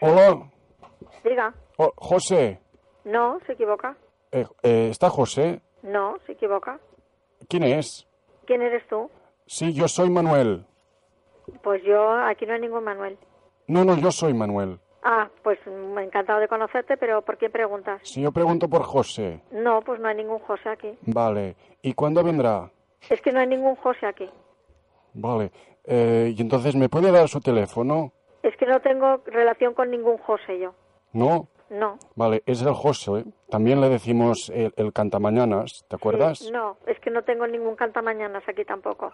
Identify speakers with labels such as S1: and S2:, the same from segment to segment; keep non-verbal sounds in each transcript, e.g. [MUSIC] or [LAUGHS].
S1: Hola,
S2: Diga,
S1: Jo- José.
S2: no, se equivoca.
S1: Eh, eh, ¿Está José?
S2: No, se equivoca.
S1: ¿Quién es?
S2: ¿Quién eres tú?
S1: Sí, yo soy Manuel.
S2: Pues yo, aquí no hay ningún Manuel.
S1: No, no, yo soy Manuel.
S2: Ah, pues mm, encantado de conocerte, pero ¿por quién preguntas?
S1: Si yo pregunto por José.
S2: No, pues no hay ningún José aquí.
S1: Vale. ¿Y cuándo vendrá?
S2: Es que no hay ningún José aquí.
S1: Vale. Eh, ¿Y entonces me puede dar su teléfono?
S2: Es que no tengo relación con ningún José yo.
S1: No.
S2: No.
S1: Vale, es el José. También le decimos el, el cantamañanas, ¿te acuerdas?
S2: No, es que no tengo ningún cantamañanas aquí tampoco.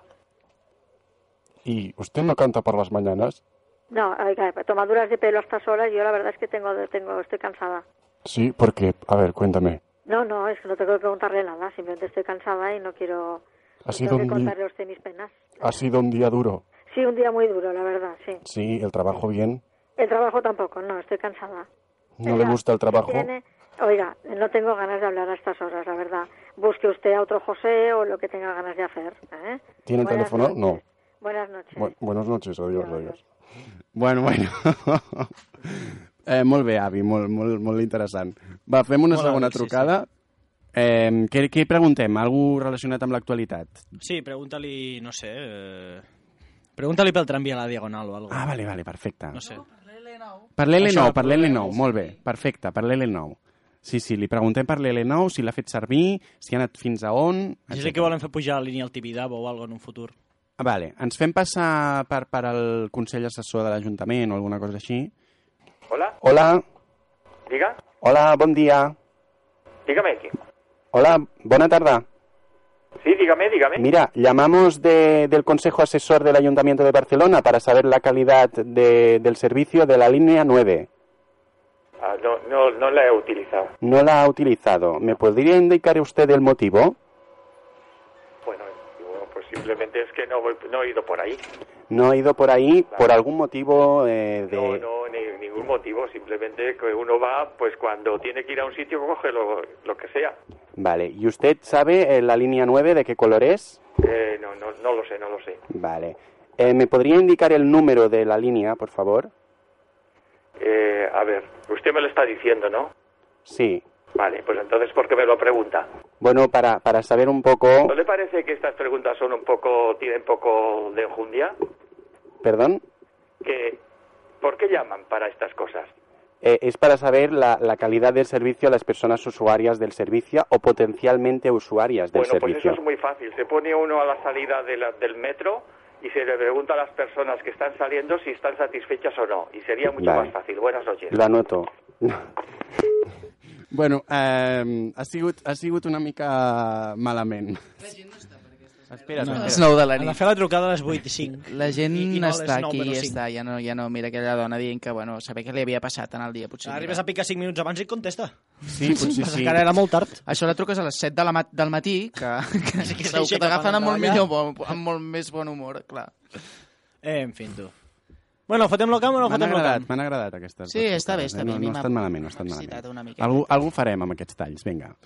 S1: ¿Y usted no canta por las mañanas?
S2: No, oiga, tomaduras de pelo a estas horas, yo la verdad es que tengo, tengo, estoy cansada.
S1: Sí, porque, a ver, cuéntame.
S2: No, no, es que no tengo que preguntarle nada, simplemente estoy cansada y no quiero
S1: Ha
S2: no
S1: sido
S2: tengo
S1: un
S2: que
S1: día-
S2: contarle a usted mis penas.
S1: Ha sido un día duro.
S2: Sí, un día muy duro, la verdad, sí.
S1: Sí, el trabajo bien.
S2: El trabajo tampoco, no, estoy cansada.
S1: ¿No
S2: Oiga,
S1: le gusta el trabajo?
S2: tiene- Oiga, no tengo ganas de hablar a estas horas, la verdad. Busque usted a otro José o lo que tenga ganas de hacer. ¿eh?
S1: ¿Tiene el
S2: Buenas
S1: teléfono?
S2: noches.
S1: No.
S2: Buenas noches.
S1: Bu- buenas noches, adiós, adiós.
S3: Bueno, bueno. [LAUGHS] eh, molt bé, avi, molt, molt, molt interessant. Va, fem una
S4: Molt
S3: segona
S4: avi, sí,
S3: trucada. Eh, què, què hi preguntem? Algú relacionat amb l'actualitat?
S4: Sí, pregunta-li, no sé... Eh... Pregunta-li pel tramvia a la Diagonal o alguna
S3: Ah, vale, vale, perfecte.
S4: No sé.
S3: Per l'L9,
S4: Això,
S3: per l'L9, molt bé, perfecte, per l'L9. Sí, sí, li preguntem per l'L9, si l'ha fet servir, si ha anat fins a on...
S4: Si és el que volen fer pujar a línia al Tibidabo o alguna en un futur.
S3: Ah, Vale, ens fem passar per, per al Consell Assessor de l'Ajuntament o alguna cosa així.
S5: Hola,
S3: Hola,
S5: diga,
S3: hola, bon dia.
S5: dígame. ¿qué?
S3: Hola, bona tarda.
S5: Sí, dígame, dígame.
S3: Mira, llamamos de- del Consejo Asesor del Ayuntamiento de Barcelona para saber la calidad de- del servicio de la línea 9.
S5: Ah, no, no, no la he utilizado.
S3: No la ha utilizado. ¿Me podría indicar usted el motivo?
S5: Bueno, digo, pues simplemente es que no, voy- no he ido por ahí.
S3: No ha ido por ahí por algún motivo eh, de...
S5: No, no, ni- ningún motivo. Simplemente que uno va, pues cuando tiene que ir a un sitio, coge lo, lo que sea.
S3: Vale, ¿y usted sabe eh, la línea 9 de qué color es?
S5: Eh, no, no, no lo sé, no lo sé.
S3: Vale. Eh, ¿Me podría indicar el número de la línea, por favor?
S5: Eh, a ver, usted me lo está diciendo, ¿no?
S3: Sí.
S5: Vale, pues entonces, ¿por qué me lo pregunta?
S3: Bueno, para, para saber un poco...
S5: ¿No le parece que estas preguntas son un poco, tienen poco de enjundia?
S3: Perdón.
S5: Que, ¿Por qué llaman para estas cosas?
S3: Eh, es para saber la, la calidad del servicio a las personas usuarias del servicio o potencialmente usuarias del
S5: Bueno, pues
S3: servicio.
S5: eso es muy fácil. Se pone uno a la salida de la- del metro y se le pregunta a las personas que están saliendo si están satisfechas o no. Y sería mucho
S3: Vale.
S5: más fácil. Buenas noches.
S3: Lo anoto.
S6: [LAUGHS] Bueno, eh, ha, sigut, ha sigut una mica malament.
S3: Espera,
S4: No.
S6: Les 9 de la
S4: Ha de
S6: nit.
S4: fer la trucada a les 8 i 5.
S6: La gent
S4: I- i no a les
S6: està
S4: nou,
S6: aquí
S4: però
S6: i
S4: cinc.
S6: està, ja no, ja no mira aquella dona dient que, bueno, saber què li havia passat en el dia, potser.
S4: Arribes a picar 5 minuts abans i contesta.
S3: Sí, potser
S4: Passa
S3: sí.
S4: que ara era molt tard.
S6: Això la truques a les 7 de la mat del matí, que, que,
S4: Sí, que
S6: que segur que
S4: s'aixeca
S6: t'agafen
S4: per
S6: amb, molt
S4: anar allà.
S6: millor bo- amb molt més bon humor, clar.
S4: Eh, en fin, tu. Bueno, fotem-lo camp o no
S3: M'han
S4: fotem-lo
S3: agradat,
S4: camp?
S3: m'han
S6: eh?
S3: agradat